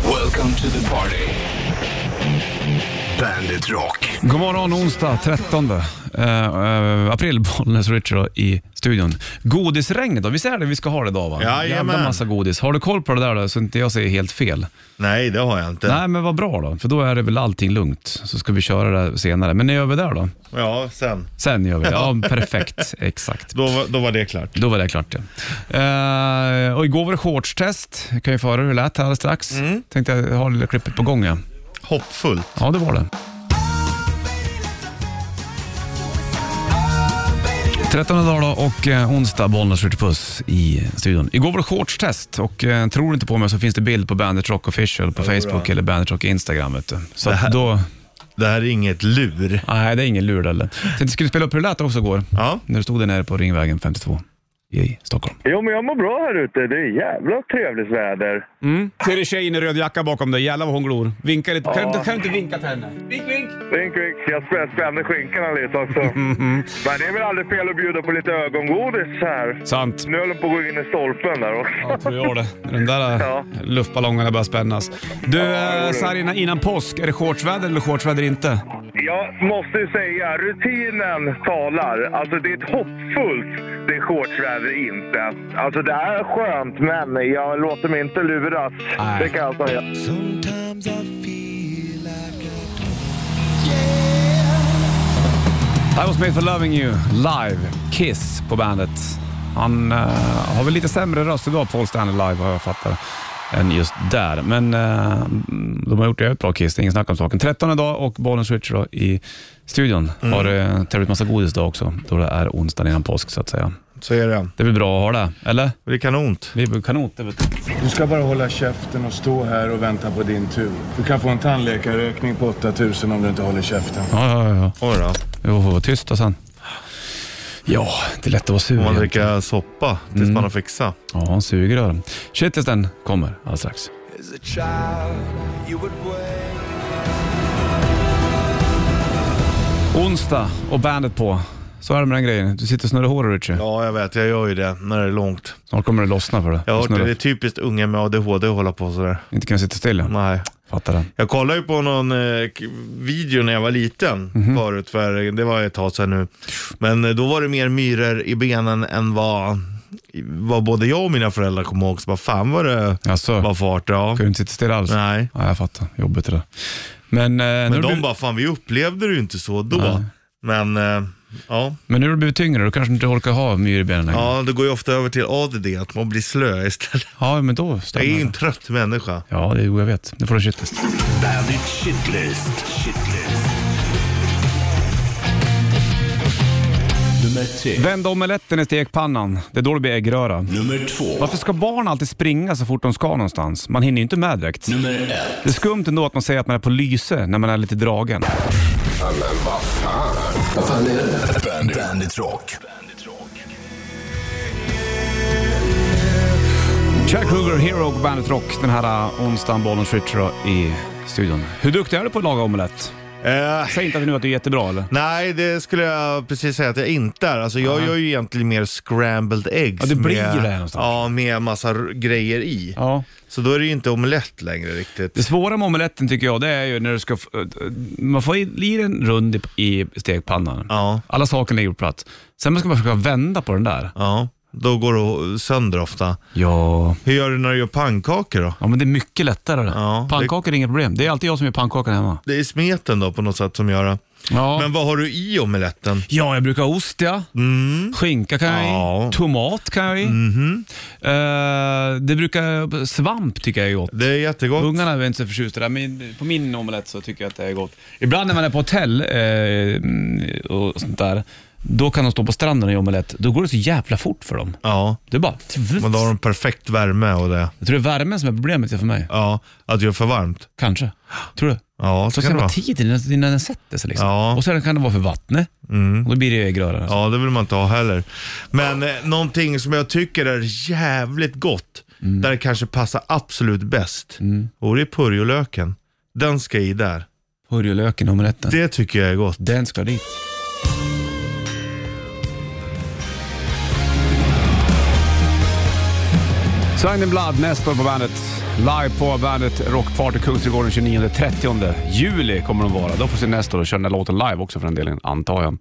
Welcome to the party. Bandit Rock. God morgon onsdag 13 eh, eh, april, Bollnäs Richard i studion. Godisregnet då, visst är det vi ska ha det idag va? Jajamän. Jävla massa godis. Har du koll på det där då, så inte jag säger helt fel? Nej, det har jag inte. Nej men vad bra då, för då är det väl allting lugnt. Så ska vi köra det här senare. Men när gör vi där då? Ja, sen. Sen gör vi det. Ja, perfekt. Exakt. Då, var- då var det klart. Då var det klart ja. Eh, och igår var det shortstest. Jag kan ju få höra hur det lät här alldeles strax. Tänkte jag har lilla klippet på gång ja. Hoppfullt. Ja, det var det. 13 dagar då och eh, onsdag, Bollnäs skjuter puss i studion. Igår var det shortstest och eh, tror du inte på mig så finns det bild på Bandit Rock Official på Facebook eller Bandit Rock Instagram. Vet du. Så Det här- att då, Det här är inget lur. nej det är ingen lur eller. Tänkte skulle spela upp hur det lät också igår, Ja. när du stod där nere på Ringvägen 52 i Stockholm. Jo, men jag mår bra här ute. Det är jävla trevligt väder. Mm. Ser du tjejen i röd jacka bakom dig? Jävlar vad hon glor. Vinka lite. Kan, du, kan du inte vinka till henne? Vink, vink. Vink, vink. Jag spä- spände skinkorna lite också. Men det är väl aldrig fel att bjuda på lite ögongodis här. Sant. Nu höll den på att gå in i stolpen där Ja, också. jag tror jag det. När de där Ja. luftballongerna börjar spännas. det Du, ja, gjorde så här innan, innan påsk, är det shortsväder eller shortsväder inte? Jag måste ju säga, rutinen talar. Alltså det är ett hoppfullt. Det är shortsväder inte. Alltså det är skönt, men jag låter mig inte luras. Nej. Det kan jag säga. I was made for loving you, live. Kiss på bandet. Han eh, har väl lite sämre röst idag, Paul Stanley live, har jag fattat, än just där. Men eh, de har gjort det ett bra Kiss, det är ingen snack om saken. 13 idag och Bollens Richard då i studion. Har eh, tävlat massa godis idag också, då det är onsdag innan påsk så att säga. Så är det. Det blir bra att ha det, eller? Det är kanont. Vi är kanot, det vet du. Du ska bara hålla käften och stå här och vänta på din tur. Du kan få en tandläkarräkning på 8000 om du inte håller käften. Ja, ja, ja, ja. Oj då. Jo, var tyst då sen. Ja, det är lätt att vara sur. Får man igen. dricka soppa tills Mm. man har fixat. Ja, han suger öron. Shitlisten kommer alldeles strax. As a child, you would wait. Onsdag och bandet på. Så är det med den grejen. Du sitter och snurrar hår Richie. Ja, jag vet. Jag gör ju det när det är långt. Snart kommer det lossna för dig. Jag har Du hört det. snurrar. Det är typiskt unga med ADHD att hålla på sådär. Inte kan sitta still. ja. Nej. Fattar det. Jag kollade ju på någon eh, k- video när jag var liten Mhm. förut, för det var ett tag sedan nu. Men eh, då var det mer myror i benen än vad, vad både jag och mina föräldrar kom ihåg. Så bara, fan vad det Alltså, var fart. Ja. kan du inte sitta still alls? Nej. Ja, jag fattar. Jobbigt det där. Men, eh, nu Men har du de blivit, bara, fan vi upplevde det ju inte så då. Nej. Men eh, ja. men nu har du blivit tyngre. Du kanske inte orkar ha myror i benen längre. Ja. ja, det går ju ofta över till ADD, att man blir slö istället. men då Jag stämmer är ju det. en trött människa. Ja, det är jo, jag vet. Nu får du en shitlist. Bandit Shitlist. Shitlist. Nummer tre. Vänd omeletten i stekpannan. Det är då det blir äggröra. Nummer två. Varför ska barn alltid springa så fort de ska någonstans? Man hinner ju inte med direkt. Nummer ett. Det är skumt ändå att man säger att man är på lyse när man är lite dragen. Bandit, Bandit Rock. Jack Kruger, Hero och Bandet Rock den här eh, onsdagen, bollen switcher då i studion. Hur duktig är du på att laga omelett? Eh, Säg inte nu att du är jättebra eller? nej, det skulle jag precis säga att jag inte är. Alltså, jag gör ju egentligen mer scrambled eggs. Ja, det blir med, det här någonstans. Ja, med massa r- grejer i. Ja. Så då är det ju inte omelett längre Det riktigt. svåra med omeletten tycker jag, det är ju när du ska... f- eh, Man får i i den rund i- i stekpannan. Ja, Alla sakerna ligger på plats. Sen ska man försöka vända på den där. ja. Då går det sönder ofta. Ja... Hur gör du när du gör pannkakor då? Ja, men det är mycket lättare. Ja, Pannkakor är inget problem. Det är alltid jag som gör pannkakan hemma. Det är smeten då på något sätt som gör det. Ja. Men vad har du i omeletten? Ja, jag brukar ha ost ja. Skinka kan jag i. Mm. Ja. Mm-hmm. Tomat kan jag i. Eh, det brukar, svamp tycker jag är gott. Det är jättegott. Ungarna är väl inte så förtjusta där, men på min omelett så tycker jag att det är gott. Ibland när man är på hotell eh, och sånt där, då kan de stå på stranden och göra omelett. Då går det så jävla fort för dem. Ja, Det är bara... men då har de perfekt värme och det. Jag tror det är värmen som är problemet för mig. Ja, att det gör för varmt. Kanske. Tror du? Ja, så Så kan det kan det vara. tid innan, innan den sätter sig liksom. Ja. Mm. Och sen kan det vara för vattnet. Och då blir det ju grödare. Ja, det vill man inte ha heller. Men eh, någonting som jag tycker är jävligt gott, där det kanske passar absolut bäst, och det är purjolöken. Den ska i där. Purjolöken i omeletten. Det tycker jag är gott. Den ska dit. Sign in Blood, nästa år på bandet. Live på bandet Rockparty Kungsträdgården 29-30 juli kommer de vara. Då får vi se nästa och köra den här låten live också för den delen, antar jag.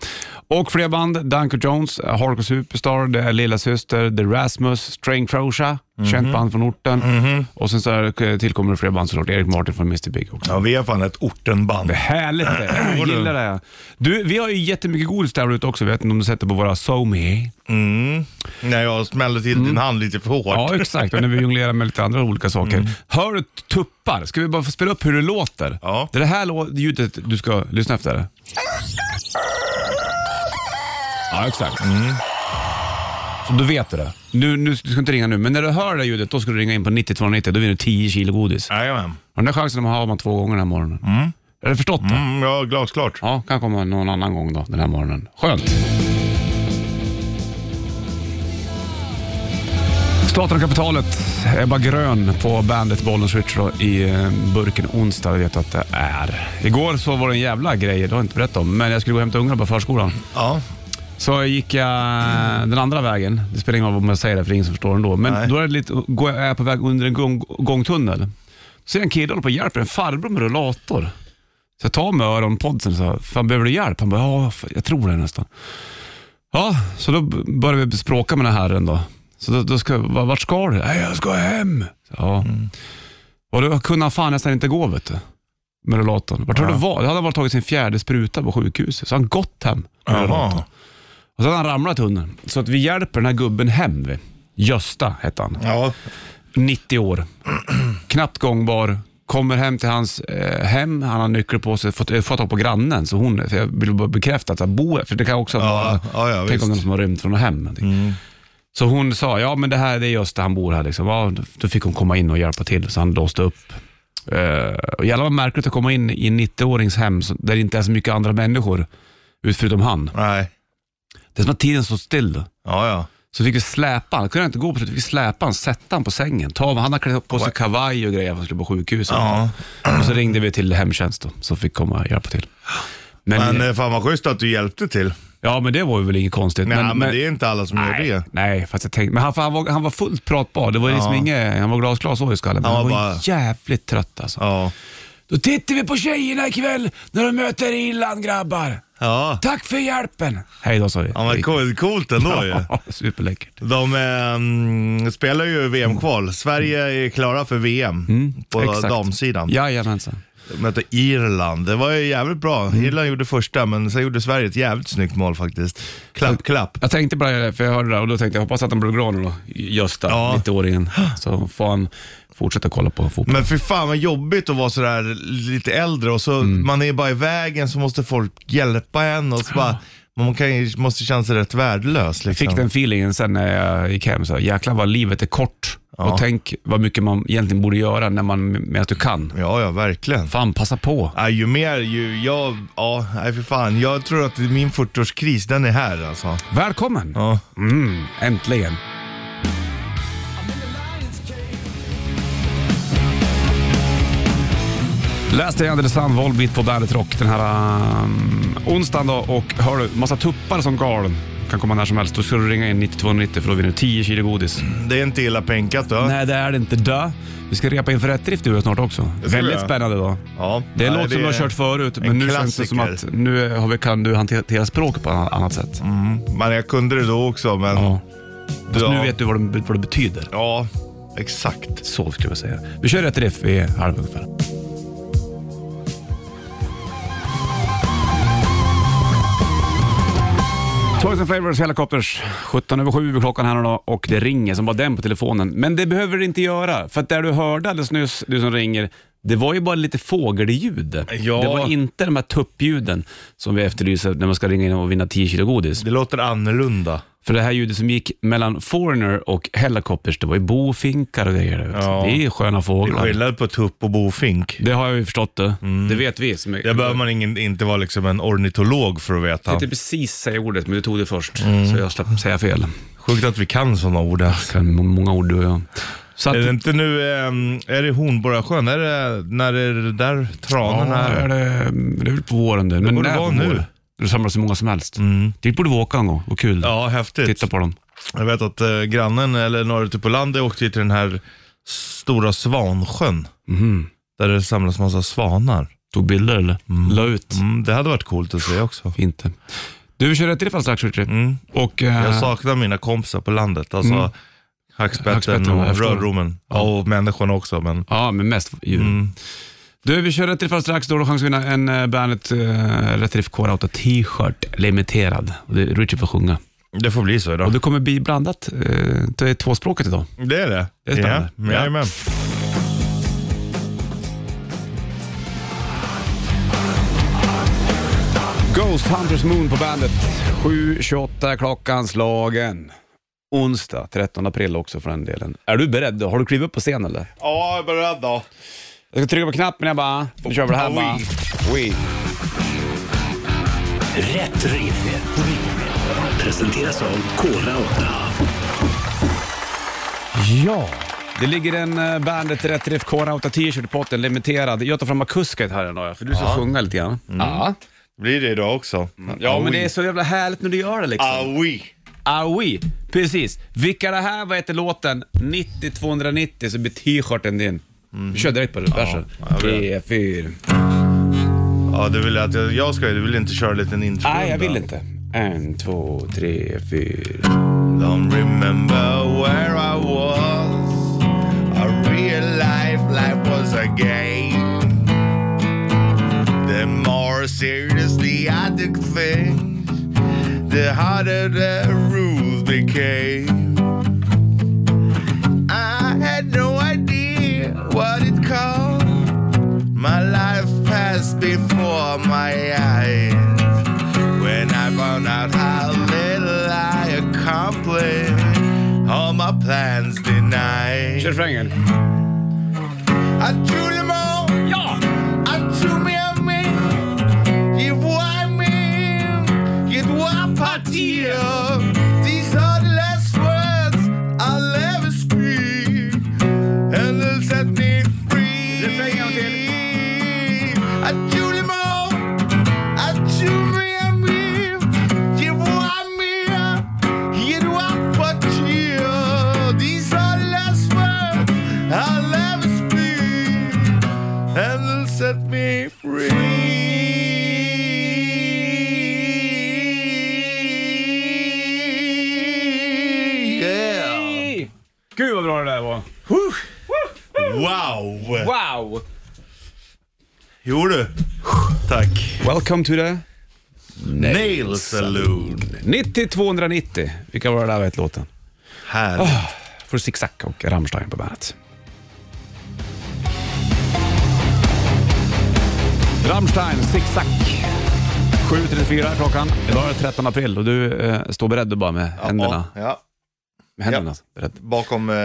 Och fler band, Danko Jones, Hardcore Superstar, det är Lilla Syster, The Rasmus, Strain Crocia, känt band från orten. Och sen så här eh, tillkommer det fler band såklart. Erik Martin från Mr Big också. Ja, vi är fan ett ortenband. Det är härligt det. Jag gillar det. Du, vi har ju jättemycket godis där ute också. Jag vet inte om du sätter på våra SoMe. När jag smällde till din hand lite för hårt. Ja, exakt. Och när vi jonglerar med lite andra olika saker. Hör du tuppar? Ska vi bara få spela upp hur det låter? Ja. Det är det här lå- ljudet du ska lyssna efter. Ja, exakt. Så då vet du det. Nu, nu, du ska inte ringa nu, men när du hör det här ljudet, då ska du ringa in på 9290. Då vinner du 10 kilo godis. Jajamän. Och den där chansen har man två gånger den här morgonen. Har du förstått det? Mm, ja, glasklart. Ja, kan komma någon annan gång då, den här morgonen. Skönt. Staten och kapitalet, Ebba Grön på bandet Bollens Switch då, i eh, burken onsdag. Jag vet att det är. Igår så var det en jävla grej, det har jag inte berättat om, men jag skulle gå och hämta ungarna på förskolan. Ja. Så gick jag den andra vägen. Det spelar ingen roll om jag säger det, för det är ingen som förstår ändå. Men Nej. då är, det lite, går jag, är jag på väg under en gång, gångtunnel. Så är en kille håller på och hjälper en farbror med rullator. Så jag tar med öronpodsen och sa, fan behöver du hjälp? Han bara, ja, jag tror det nästan. Ja, så då började vi språka med den här herren då. Så då, då ska, va- vart ska du? Nej, jag ska hem. Ja. Och då kunde han fan nästan inte gå vet du. Med rullatorn. Vart har du varit? Då hade han varit tagit sin fjärde spruta på sjukhuset. Så han gått hem med rullatorn. Jaha. Och sen har han ramlat under. Så att vi hjälper den här gubben hem. Vi. Gösta hette han. Ja. 90 år. Knappt gångbar. Kommer hem till hans eh, hem. Han har nyckel på sig. Fått, eh, fått tag på grannen. Så hon, för jag vill bara bekräfta att jag bor För det kan också vara... ja, ja, tänk om visst. Mm. någon som har rymt från hem. Så hon sa, ja men det här det är Gösta, han bor här. Liksom. Ja, då fick hon komma in och hjälpa till. Så han låste upp. Eh, och jävlar vad märkligt att komma in i en 90-årings hem så- där det inte är så mycket andra människor. ut- Förutom han. Nej. Det är som att tiden står still. Då. Ja, ja. Så fick vi släpa han, kunde jag inte gå på slutet, fick vi släpa han, sätta han på sängen. Ta av, han hade klätt på sig kavaj och grejer för att han skulle på sjukhuset. Ja. Och så ringde vi till hemtjänst då, så fick komma och hjälpa till. Men, Men eh, fan vad schysst att du hjälpte till. ja, men det var ju väl inget konstigt. Nej, men, det är inte alla som gör nej, det. nej, fast jag tänkte, men han, för han, var, han var fullt pratbar. Det var liksom inget, han var glasklar så i skallen, men Han han var var jävligt trött alltså. Ja. Då tittar vi på tjejerna ikväll när de möter Irland grabbar. Ja. Tack för hjälpen! Hej då sa vi. Ja, men coolt, coolt ändå ju. Ja, Superläckert. De eh, mm, spelar ju VM-kval. Sverige är klara för VM på Mm. Exakt. damsidan. Jajamensan. De mötte Irland. Det var ju jävligt bra. Mm. Irland gjorde första, men sen gjorde Sverige ett jävligt snyggt mål faktiskt. Klapp, klapp. Jag tänkte bara det, för jag hörde det och då tänkte jag hoppas att han blir glad nu då, Gösta, Ja. 90-åringen. Så får han fortsätta kolla på fotboll. Men för fan vad jobbigt att vara sådär lite äldre och så Mm. man är bara i vägen så måste folk hjälpa en och så bara, man kan, ju- måste känna sig rätt värdelös. Jag Liksom. fick den feelingen sen när jag gick hem, så här, jäklar vad livet är kort. Och tänk vad mycket man egentligen borde göra när man, medan du kan. Ja, ja, verkligen. Fan, passa på. Ja, ju mer, ju, jag, ja, nej för fan. Jag tror att min 40-årskris, den är här alltså. Välkommen! Ja. Mm, äntligen. Läs det Under the Sun, Volbeat på Bandet Rock den här um, onsdagen då och hör du, massa tuppar som galen. Kan komma när som helst. Då ska du ringa in 9290 för då vinner du 10 kilo godis. Det är inte illa penkat då. Nej, det är det inte. Dö. Vi ska repa inför rättdrift du och jag snart också. ska vi Väldigt göra. spännande då. Ja, Det är en nej, låt som du har är- kört förut, men en nu känns det som att klassiker. Mm. nu har vi, kan du hantera språk på ett annat sätt. Men jag kunde det då också, men ja. Ja. Fast nu vet du vad det, vad det betyder. Ja, exakt. Så skulle jag säga. Vi kör ett riff i halv ungefär. Toys and Flavors Helicopters. 17 över 7 är klockan här nu då och det ringer som bara den på telefonen. Men det behöver det inte göra, för att där du hörde alldeles nyss, du som ringer, det var ju bara lite fågelljud. Ja. Det var inte de här tuppljuden som vi efterlyser när man ska ringa in och vinna 10 kilo godis. Det låter annorlunda. För det här ljudet som gick mellan Foreigner och Helicopters, det var ju bofinkar och grejer. vet du. Ja. Det är fräna Det är fåglar. skillnad på tupp och bofink. Det har jag ju förstått det. Det vet vi. Som Där behöver man ingen, inte vara liksom en ornitolog för att Jag veta. tänkte precis säga ordet, men du tog det först, Mm. så jag slapp säga fel. Sjukt att vi kan sådana ord. ens. Kan må- många ord du och jag. Så att, Är det inte nu, ehm, är det Hornborgasjön? Är det, när är det där ja, tranen är är? det, det är väl på våren det. Men borde när vara på nu. Mm. våren? Det samlas så många som helst. Dit borde vi åka en gång. Vad kul. Ja, häftigt. Titta på dem. Jag vet att eh, grannen, eller några ute på landet, åkte ju till den här Stora Svansjön. Mhm. Där det samlas massa svanar. Tog bilder eller? La ut? Mm, det hade varit coolt att se också. Inte. Du kör rätt i alla fall strax, Richie. Mm. Och eh, Jag saknar mina kompisar på landet. Alltså Mm. hackspetten Hackspetten, jag och förstår. rörromen. Ja, och människorna också. Men, Ja, men mest djur. mm. Du, vi kör rätt riff alldeles strax. Då har du chans att vinna en eh, Bandet eh, Rätt Riff K-Rauta t-shirt, limiterad. Och det, Richie får sjunga. Det får bli så Och idag. det kommer bli blandat. Eh, det är tvåspråkigt idag. Det är det. Det är spännande. Ja, Ja. jajamän. Ghost Hunters Moon på bandet. 7.28 klockan slagen. Onsdag 13 april också för den delen. Är du beredd? Har du klivit upp på scen eller? Ja, jag är beredd då. Jag ska trycka på knappen jag bara, nu kör vi det här bara. Oui. Rätt riff. Presenteras av Kora 8. Ja, det ligger en eh, Bandet Rätt Riff K-Rauta t-shirt i potten, limiterad. Jag tar fram akusket här idag, för du ska sjunga lite grann. Ja. Blir det idag också? ja, men det är så jävla härligt när du gör det liksom. Aui. Ah oui, precis. Vilka det här, vad heter låten? 90-290 så blir t-shirten din. Vi kör direkt på det. Versen. G4. Ja, du vill att jag, jag ska Du vill inte köra en liten intro? Nej, jag vill inte. En, två, tre, fyra. Don't remember where I was. I realized life was a game. The more seriously I took things, the harder the rules became. I had no idea what it called. My life passed before my eyes. When I found out how little I accomplished, all my plans denied. Kör refrängen. I threw them all. Ja! I threw me at me. You why me? You why partir? These are the last words I'll ever speak, and they'll set me free. I threw them all. I threw me at me. You why me? You why partir? These are the last words I'll ever speak and will set me free. Yeah. Gud vad bra det där var. Wow! Wow! Jo du. Tack. Welcome to the... Nail Saloon. 90-290. Vilka var det där, vad hette låten? Här. För Zigzag och Rammstein på bandet. Rammstein, Zigzag. 7.34 klockan. Idag är det 13 april och du eh, står beredd du bara med händerna. Ja, Med händerna. Beredd. bakom eh,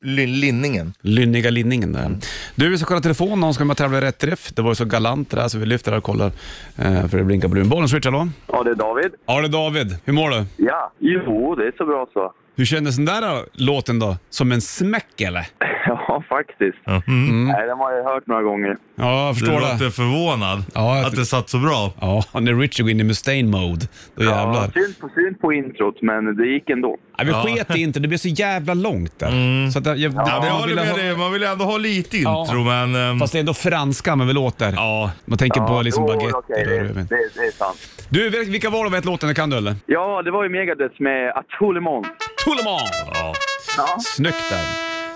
linningen. Lynniga linningen där. Du, vi ska kolla telefon. Någon ska med och tävla i rätt riff. Det var ju så galant det där så vi lyfter det här och kollar. Eh, för det blinkar brun. Bollens Richard, hallå? Ja, det är David. Ja, det är David. Hur mår du? Ja. Jo, det är så bra så. Hur kändes den där då, låten då? Som en smäck eller? Ja, faktiskt. Mm. Nej, den har jag hört några gånger. Ja, jag Du förstår det. låter förvånad Ja, jag- att det satt så bra. Ja, när Richard går in i Mustaine-mode, då jävlar. Ja, synd, på, synd på introt, men det gick ändå. Nej, vi sket i inte, det blev så jävla långt där. Så att jag, det, Mm. Ja, jag man håller ville med ha- dig, man vill ändå ha lite Ja. intro men... ehm, Fast det är ändå franska man väl låter. Ja, Man tänker på liksom jo, baguette okej, och det, rödvin. det, det är sant. Du, vil- vilka var de ett låten? Det kan du eller? Ja, det var ju Megadeth med Atolemon. Tulleman! Ja. Snyggt där.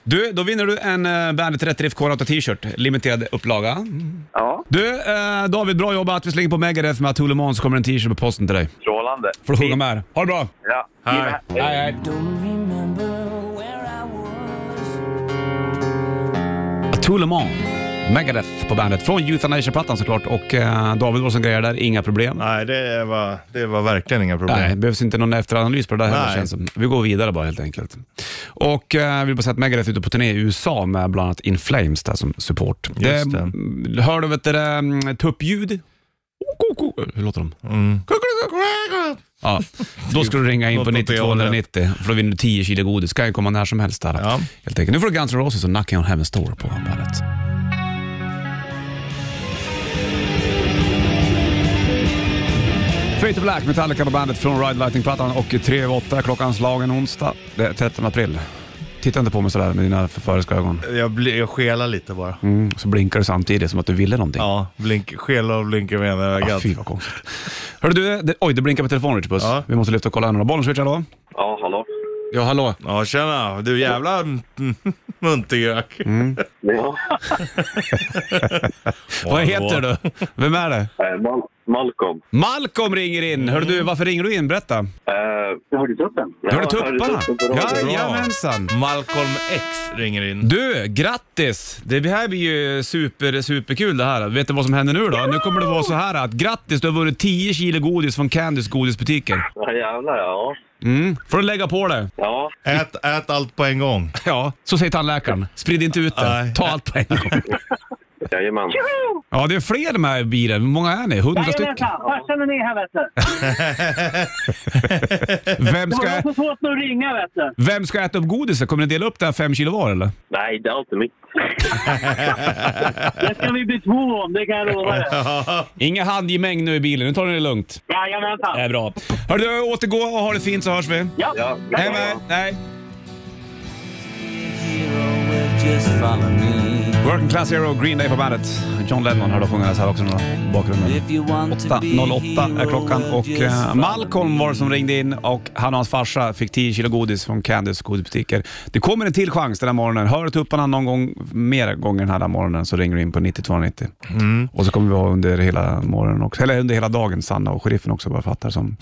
Du, då vinner du en uh, Bandet Rätt Riff K-Rauta t-shirt, limiterad upplaga. Ja, Du, eh, David, bra jobbat. Vi slänger på Megadeth med Tulleman så kommer en t-shirt på posten till dig. strålande. Får du sjunga med. Ha det bra! Ja. Hej. Hej, hej. Tulleman, Megadeth på bandet. Från Euthanasia-plattan såklart. Och eh, David var som grejer där, inga problem. Nej, det var, det var verkligen inga problem. Nej, behövs inte någon efteranalys på det där heller Nej. känns som. Vi går vidare bara helt enkelt. Och eh, jag vill bara säga att Megadeth är ute på turné i USA med bland annat In Flames där som support. Just det. Mm, Hör du vet det där mm, tuppljud? Ko, ko, ko. Hur låter de? Mm. Ko, ko, ko, ko. Ja, då ska du ringa in på Något åt det hållet. 9290 för då vinner du 10 kilo godis. Ska ju komma när som helst där. Ja. Helt enkelt. Nu får du Guns N' Roses och Knocking on Heaven's Door på bandet. Fate to Black, Metallica på bandet från Ride Lightning-plattan och 3 över 8 klockan slagen onsdag. Det är 13 april. Titta inte på mig sådär med dina förföriska ögon. Jag, bli, jag skelar lite bara. Mm, så blinkar du samtidigt som att du ville någonting. Ja, blink, skela och blinka med ena Ah, ögat. fy vad konstigt. Hörru du, det, oj det blinkar på telefonen Richard Puss. Ja. Vi måste lyfta och kolla några. Bollen switch, hallå? Ja, hallå? Ja, hallå. Ja, tjena. Du jävla mm, muntergök. Mm. Ja. Vad heter du? Vem är det? Eh, Mal- Malcolm. Malcolm ringer in. Hörru du, varför ringer du in? Berätta. Eh, jag hörde tuppen. Ja, Hörde tupparna? tuppen på radion. Jajamensan. Malcolm X ringer in. Du, grattis! Det här blir ju super, superkul det här. Vet du vad som händer nu då? Nu kommer det vara så här att grattis, du har vunnit 10 kilo godis från Candys godisbutiker. Ja, jävlar ja. Mm. Får du lägga på det? Ja, Ät, ät allt på en gång. Ja, så säger tandläkaren. Sprid inte ut det. Nej. Ta allt på en gång. jajamän. Ja, det är fler med i bilen. Hur många är ni? Hundra stycken? Jajamensan, farsan är med här vet du. Vem Det ska, var så svårt att ringa vet du. vem ska äta upp godiset? Kommer ni dela upp det här fem kilo var eller? Nej, det är alltid mitt. Det ska vi bli två om, det kan jag lova dig. Inga handgemäng nu i bilen. Nu tar ni det lugnt. Det Jajamensan. är bra. Hörru du, återgå och ha det fint så hörs vi. Ja. Hej med Hej. Working Class Hero, Green Day på bandet. John Lennon hörde sjungandes här också nu då, i bakgrunden. 8.08 är klockan och eh, Malcolm var det som ringde in och han och hans farsa fick 10 kilo godis från Candys godisbutiker. Det kommer en till chans den här morgonen. Hör tupparna någon gång, mer gånger den här morgonen så ringer du in på 9290. Mm. Och så kommer vi ha under hela morgonen också, eller under hela dagen Sanna och sheriffen också bara fattar som.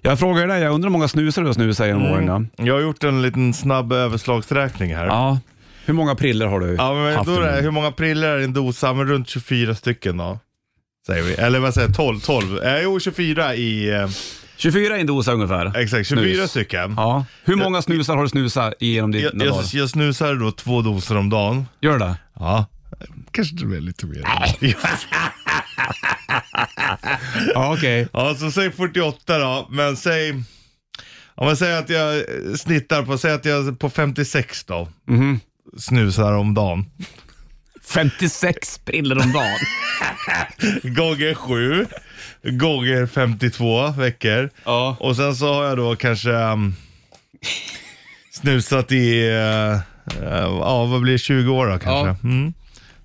Jag frågar dig, jag undrar hur många snusar du har snusat genom Mm. åren? ja? Jag har gjort en liten snabb överslagsräkning här. Ja. Hur många priller har du Ja, men haft? då är det, nu? hur många prillor är i en dosa? Men runt 24 stycken då. Säger vi. Eller vad säger jag? 12? 12. Eh, jo, 24 i... Eh, 24 i en dosa ungefär. exakt, 24 Snus. stycken. Ja. Hur många snusar har du snusat genom dina Jag, jag, dagar? jag snusar då två doser om dagen. Gör du det? Ja. Kanske det blir lite mer. Ja, okej. ja, så säg 48 då. Men säg... Om man säger att jag eh, snittar på, säg att jag på 56 då. Mhm. Snusar om dagen. 56 priller om dagen. Gånger 7. Gånger 52 veckor. Ja. Och sen så har jag då kanske ehm, snusat i, eh, eh, ja vad blir det, 20 år då kanske. Mm.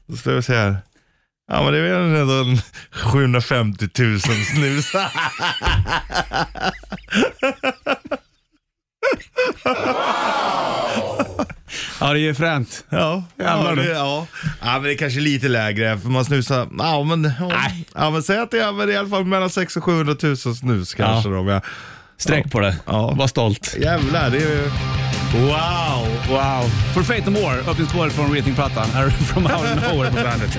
Då ska vi se här. Ja men det är väl ändå en 750 000 snus. Ja, det är ju fränt. ja, Jävlar ja, du. det, ja. ja men det är kanske lite lägre för man snusar, ja men, ja, ja, men säg att det är, men det är i alla fall mellan 600 och 700 000 snus kanske då. Men, jag- Sträck på det. Ja. Var stolt. jävlar det är ju, wow. Wow. For Fate No More, öppningsspåret från Rating-plattan. Här är From Out of Nowhere på bandet.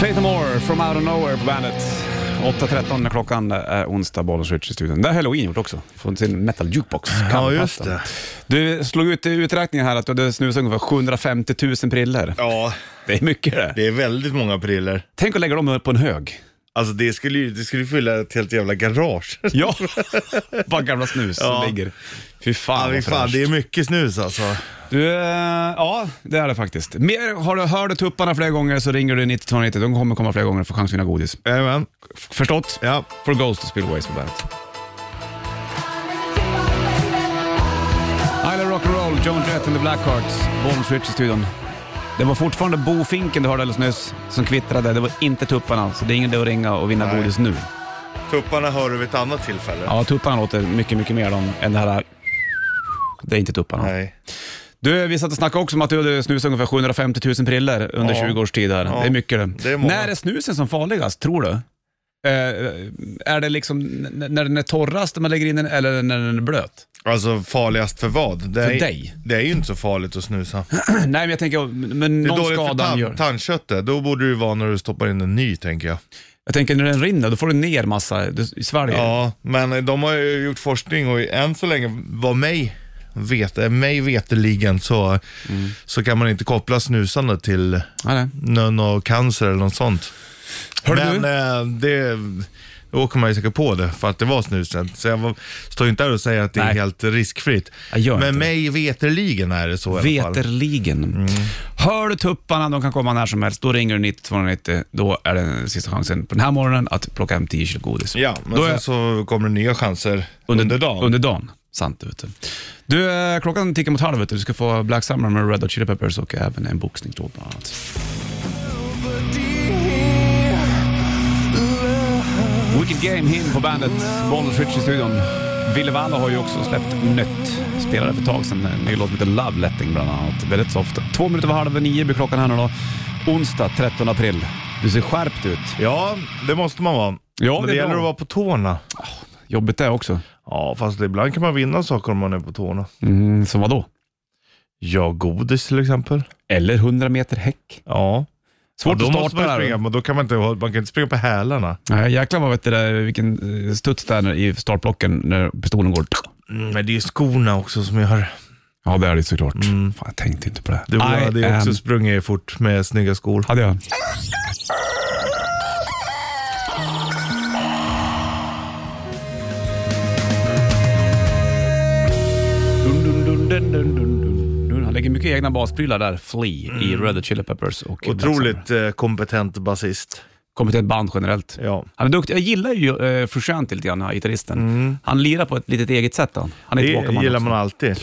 Fate No More, From Out of Nowhere på bandet. 8.13 är klockan, det är onsdag, Bollens Rich i studion. Det har Halloween gjort också, från sin metal jukebox. Ja just det. Du slog ut i uträkningen här att du hade snusat ungefär 750 000 priller. Ja, Det är mycket det. det är väldigt många priller. Tänk att lägga dem på en hög. Alltså det skulle ju det skulle fylla ett helt jävla garage. Ja, bara gamla snus Ja. som ligger. Fy fan, Ja, vad men fan, fräscht. det är mycket snus alltså. Du, eh, ja, det är det faktiskt. Mer, har du hört tupparna flera gånger så ringer du 9290. De kommer komma flera gånger och få chans att vinna godis. Jajamän. F- Förstått? Ja. For Ghost och Spillways på bandet. I love rock'n'roll, Joan Jett and the Blackhearts, Bombs Rich i studion. Det var fortfarande bofinken du hörde alldeles nyss som kvittrade. Det var inte tupparna, så det är ingen idé att ringa och vinna Nej. godis nu. Tupparna hör du vid ett annat tillfälle. Ja, tupparna låter mycket, mycket mer om, än det här... Det är inte tupparna. Nej. Du, vi satt och snackade också om att du hade snusat ungefär 750 000 priller under Ja. 20 års tid här. Ja. Det är mycket det. Det är många. när är snusen som farligast, tror du? Eh, är det liksom n- n- när den är torrast man lägger in den eller när den är blöt? Alltså farligast för vad? Det För är, dig? Det är ju inte så farligt att snusa. Nej, men jag tänker, men Det är någon dåligt för skada han gör. tan- tandköttet. Då borde det ju vara när du stoppar in en ny tänker jag. Jag tänker när den rinner, då får du ner massa du- i Sverige. Ja, men de har ju gjort forskning och än så länge, vad mig vet, mig veteligen så, Mm. så kan man inte koppla snusande till Ja, nej. någon och cancer eller något sånt. Hörde Men eh, det, Då åker man ju säkert på det för att det var snusen. Så jag var, står ju inte där och säger att det är Nej. helt riskfritt. Jag gör inte Men det. mig veterligen är det så i alla fall. Veterligen. Mm. Hör du tupparna, de kan komma när som helst. Då ringer du 90 290. Då är det sista chansen på den här morgonen att plocka hem 10 kilo godis. Ja, men Då sen är- så kommer det nya chanser under, dagen. Under dagen. Sant vet du. Du, eh, klockan tickar mot halv. Vet du. du ska få Black Summer med Red Hot Chili Peppers och även en boxningslåt bland annat. Wicked Game Him på bandet. Bollnäs Rich i studion. Ville Valla har ju också släppt nytt. Spelade för ett tag sedan en ny låt som heter Love Letting bland annat. Väldigt soft. Två minuter över halv nio blir klockan här nu då. Onsdag 13 april. Du ser skärpt ut. Ja, det måste man vara. Ja, men det det är gäller bra. att vara på tårna. Jobbigt det också. Ja, fast ibland kan man vinna saker om man är på tårna. Mm, som vadå? Ja, godis till exempel. Eller 100 meter häck. Ja. Svårt ja, då att starta måste man ju där. springa, men då kan man inte, man kan inte springa på hälarna. Nej, jäklar vad vet du, där, vilken eh, studs det är när- i startblocken när pistolen går. Mm, men det är ju skorna också som gör. Ja, det är det såklart. Mm. Fan, jag tänkte inte på det. Du I hade ju am- också sprungit fort med snygga skor. Hade jag. Dun, dun, dun, dun, dun, dun, dun, dun. Han lägger mycket egna basprylar där, Flea, i Red Hot Chili Peppers. Och Black Sabbath. Mm. Otroligt eh, kompetent basist. Kommer till ett band generellt. Ja. Han är duktig. Jag gillar ju eh, Frusciante lite grann, den här gitarristen. Han lirar på ett litet eget sätt. Han, han är Mm. Det tillbaka gillar också. man alltid.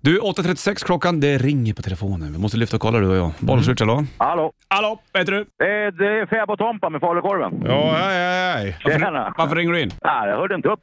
Du, 8.36 klockan. Det ringer på telefonen. Vi måste lyfta och kolla du och jag. Mm. Bollswitch, hallå? Hallå? Hallå, vad heter du? Eh, Det är Fäbodtompa med falukorven. Ja, hej, hej, hej. Tjena! Varför ringer du in? Ah, jag hörde inte upp.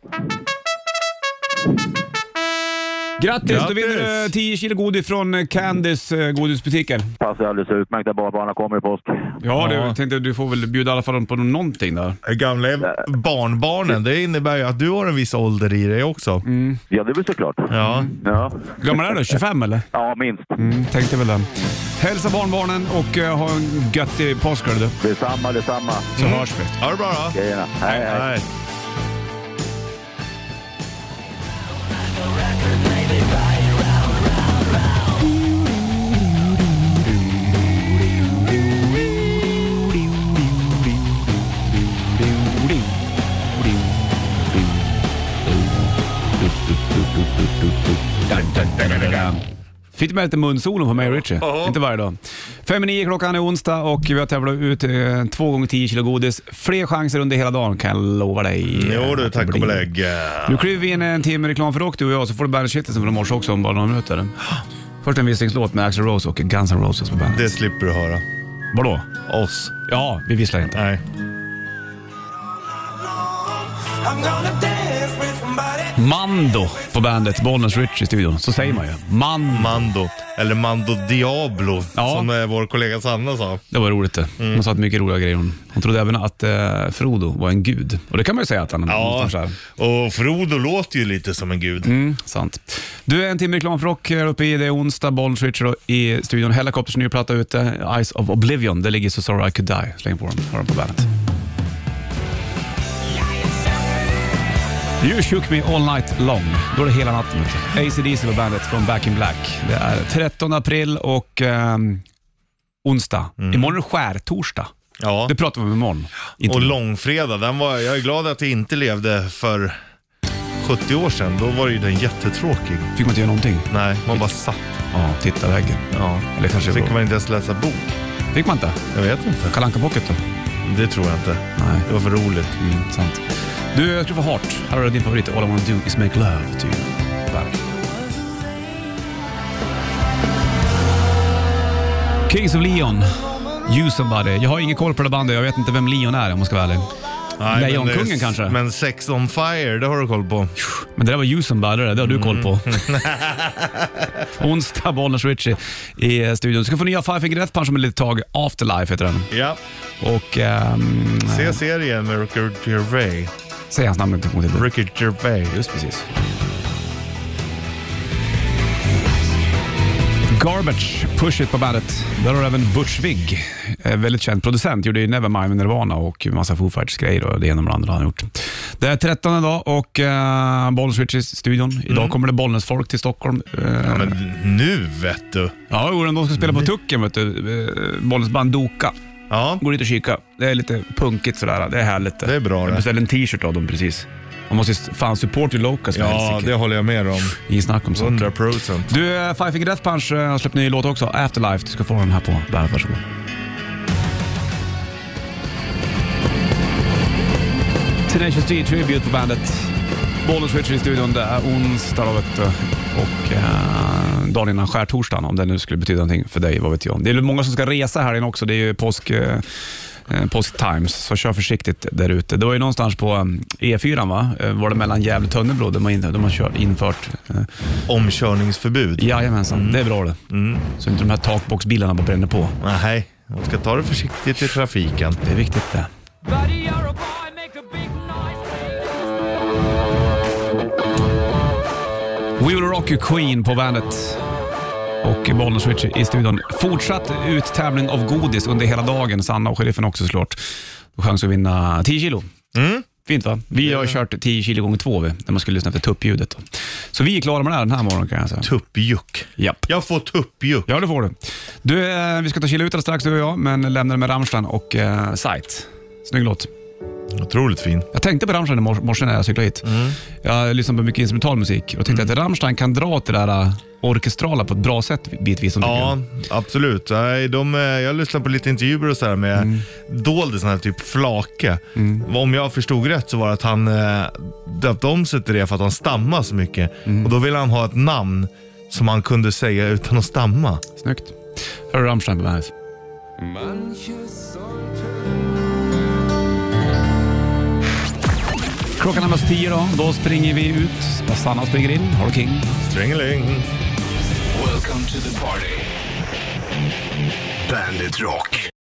Grattis, då Grattis! vinner du 10 kilo godis från eh, Candys eh, godisbutiker. Passar alldeles utmärkt att barnbarnen kommer i påsk. Ja, Du, tänkte du får väl bjuda i alla fall på någonting där. Gamla barnbarnen, det innebär ju att du har en viss ålder i dig också. Mm. Ja, det blir såklart. Ja. Ja, Glömmer det då? 25 eller? ja minst. Mm, tänkte väl det. Hälsa barnbarnen och eh, ha en göttig påsk hör du. Detsamma, detsamma. Så hörs vi. Ha det bra då. Tjejerna. Hej, hej. Hej. Fick du med lite munsolo på mig och Richie? Inte varje dag. Fem i nio klockan är onsdag och vi har tävlat ut eh, två gånger 10 kilo godis. Fler chanser under hela dagen kan jag lova dig. Jo du, Att det tack och blir. belägg. Nu kliver vi in en timme reklam för rock du och jag, så får du bandet från i morse också om bara några minuter. Först en visslingslåt med Axl Rose och Guns N' Roses på bandet. Det slipper du höra. Vadå? Oss. Ja, vi visslar inte. Nej. Mando på bandet, Bollnäs Rich i studion. Så säger man ju. Man. Mando. Eller Mando Diablo, Ja. som eh, vår kollega Sanna sa. Det var roligt det. Hon sa att mycket roliga grejer. Hon, hon trodde även att eh, Frodo var en gud. Och det kan man ju säga att han Ja, någonstans är. och Frodo låter ju lite som en gud. Mm, sant. Du, en timme reklam för rock här uppe i det är onsdag. Bollnäs Rich då i studion. Hellacopters nya platta ute, Eyes of Oblivion. Det ligger så Sorry I Could Die. Släng på dem, hör dem på bandet. You shook me all night long. Då är det hela natten. AC/DC på bandet från Back in Black. Det är 13 april och ehm, onsdag. Imorgon är det skärtorsdag. Ja. Det pratar vi om imorgon. Inte Och nu. långfredag, den var, jag är glad att jag inte levde för 70 år sedan. Då var ju den jättetråkig. Fick man inte göra någonting? Nej, man bara satt. Ja, titta väggen. Ja. Eller kanske Fick man inte ens läsa bok. Fick man inte? Jag vet inte. Kalle Anka Pocket då? Det tror jag inte. Nej. Det var för roligt. Mm, sant. Du, jag ska få Heart. Här har du din favorit. All I wanna do is make love typ. to you. Där. Kings of Leon. You somebody. Jag har ingen koll på det bandet. Jag vet inte vem Leon är om man ska vara ärlig. Nej, Lejonkungen men, kanske? Men Sex on Fire, det har du koll på. Men det där var You somebody, det har du koll på. Onsdag, Bollnäs Ritchie i studion. Du ska få nya Five Finger Death Punch om ett litet tag. Afterlife heter den. Ja, Och... ehm, se serien med Ricky Gervais. säg hans namn inte en gång till. Ricky Gervais. Just precis. Garbage, Push It på bandet. Där har du även Butch Vig, eh, väldigt känd producent. Gjorde ju Nevermind med Nirvana och massa Foo Fighters-grejer och det ena med det andra har han gjort. Det är 13 idag och uh, Bollnäs Richies studion. Idag kommer det Bollnäs-folk till Stockholm. Eh, Ja, men nu vet du. ja, jo, de ska spela på Tucken, vet du. Eh, Bollnäs band Doka. Ja. Gå dit och kika. Det är lite punkigt sådär. Det är härligt. Det är bra Jag det. beställde en t-shirt av dem precis. Man måste ju st- fan support your locals för Ja, helsike. det håller jag med om. Ingen snack om saker. 100 procent. Du, eh, Five Finger Death Punch eh, har släppt ny låt också, Afterlife. Du ska få den här på bandet. Varsågod. Tenacious D Tribute på bandet. Bollnäs Richard i studion. Det är onsdag då, vet du. och eh, dagen innan skärtorsdagen, om det nu skulle betyda någonting för dig, vad vet jag. Det är ju många som ska resa här inne också. Det är ju påsk... Eh, eh, Påsk Times, så kör försiktigt där ute. Det var ju någonstans på eh, E4, va? Eh, var det mellan Gävle och Tönnebro, där man, in, där man kör, infört eh, Omkörningsförbud. Jajamensan, det är bra det. Så inte de här takboxbilarna bara bränner på. Nej, man ska ta det försiktigt i trafiken. Det är viktigt det. We Will Rock You Queen på bandet. Och Bollnäs Switch i studion. Fortsatt uttävling av godis under hela dagen. Sanna och sheriffen också såklart. Chans att vinna 10 kilo. Fint va? Vi har kört 10 kilo gånger två vi, när man skulle lyssna efter tuppljudet. då. Så vi är klara med det här den här morgonen kan jag säga. Tuppjuck. Japp. Jag får tuppjuck. Ja, det får du. du eh, vi ska ta chilla ut alldeles strax du och jag, men lämnar det med Rammstein och eh, Sight. Snygg låt. Otroligt fin. Jag tänkte på Rammstein i mor- morse när jag cyklade hit. Jag lyssnar på mycket instrumental musik och tänkte att Rammstein kan dra till det där eh, orkestrala på ett bra sätt bitvis. som tycker Ja, jag. absolut. Nej, de, eh, jag lyssnade på lite intervjuer och så här med doldisarna, typ Flake. Om jag förstod rätt så var det att han eh, döpte om sig till det för att han stammar så mycket. Och då ville han ha ett namn som han kunde säga utan att stamma. Snyggt. Här har du Rammstein på bandet. Klockan närmar sig tio då. Då springer vi ut. Sanna springer in. Har King. Stringeling. Welcome to the party. Bandit Rock.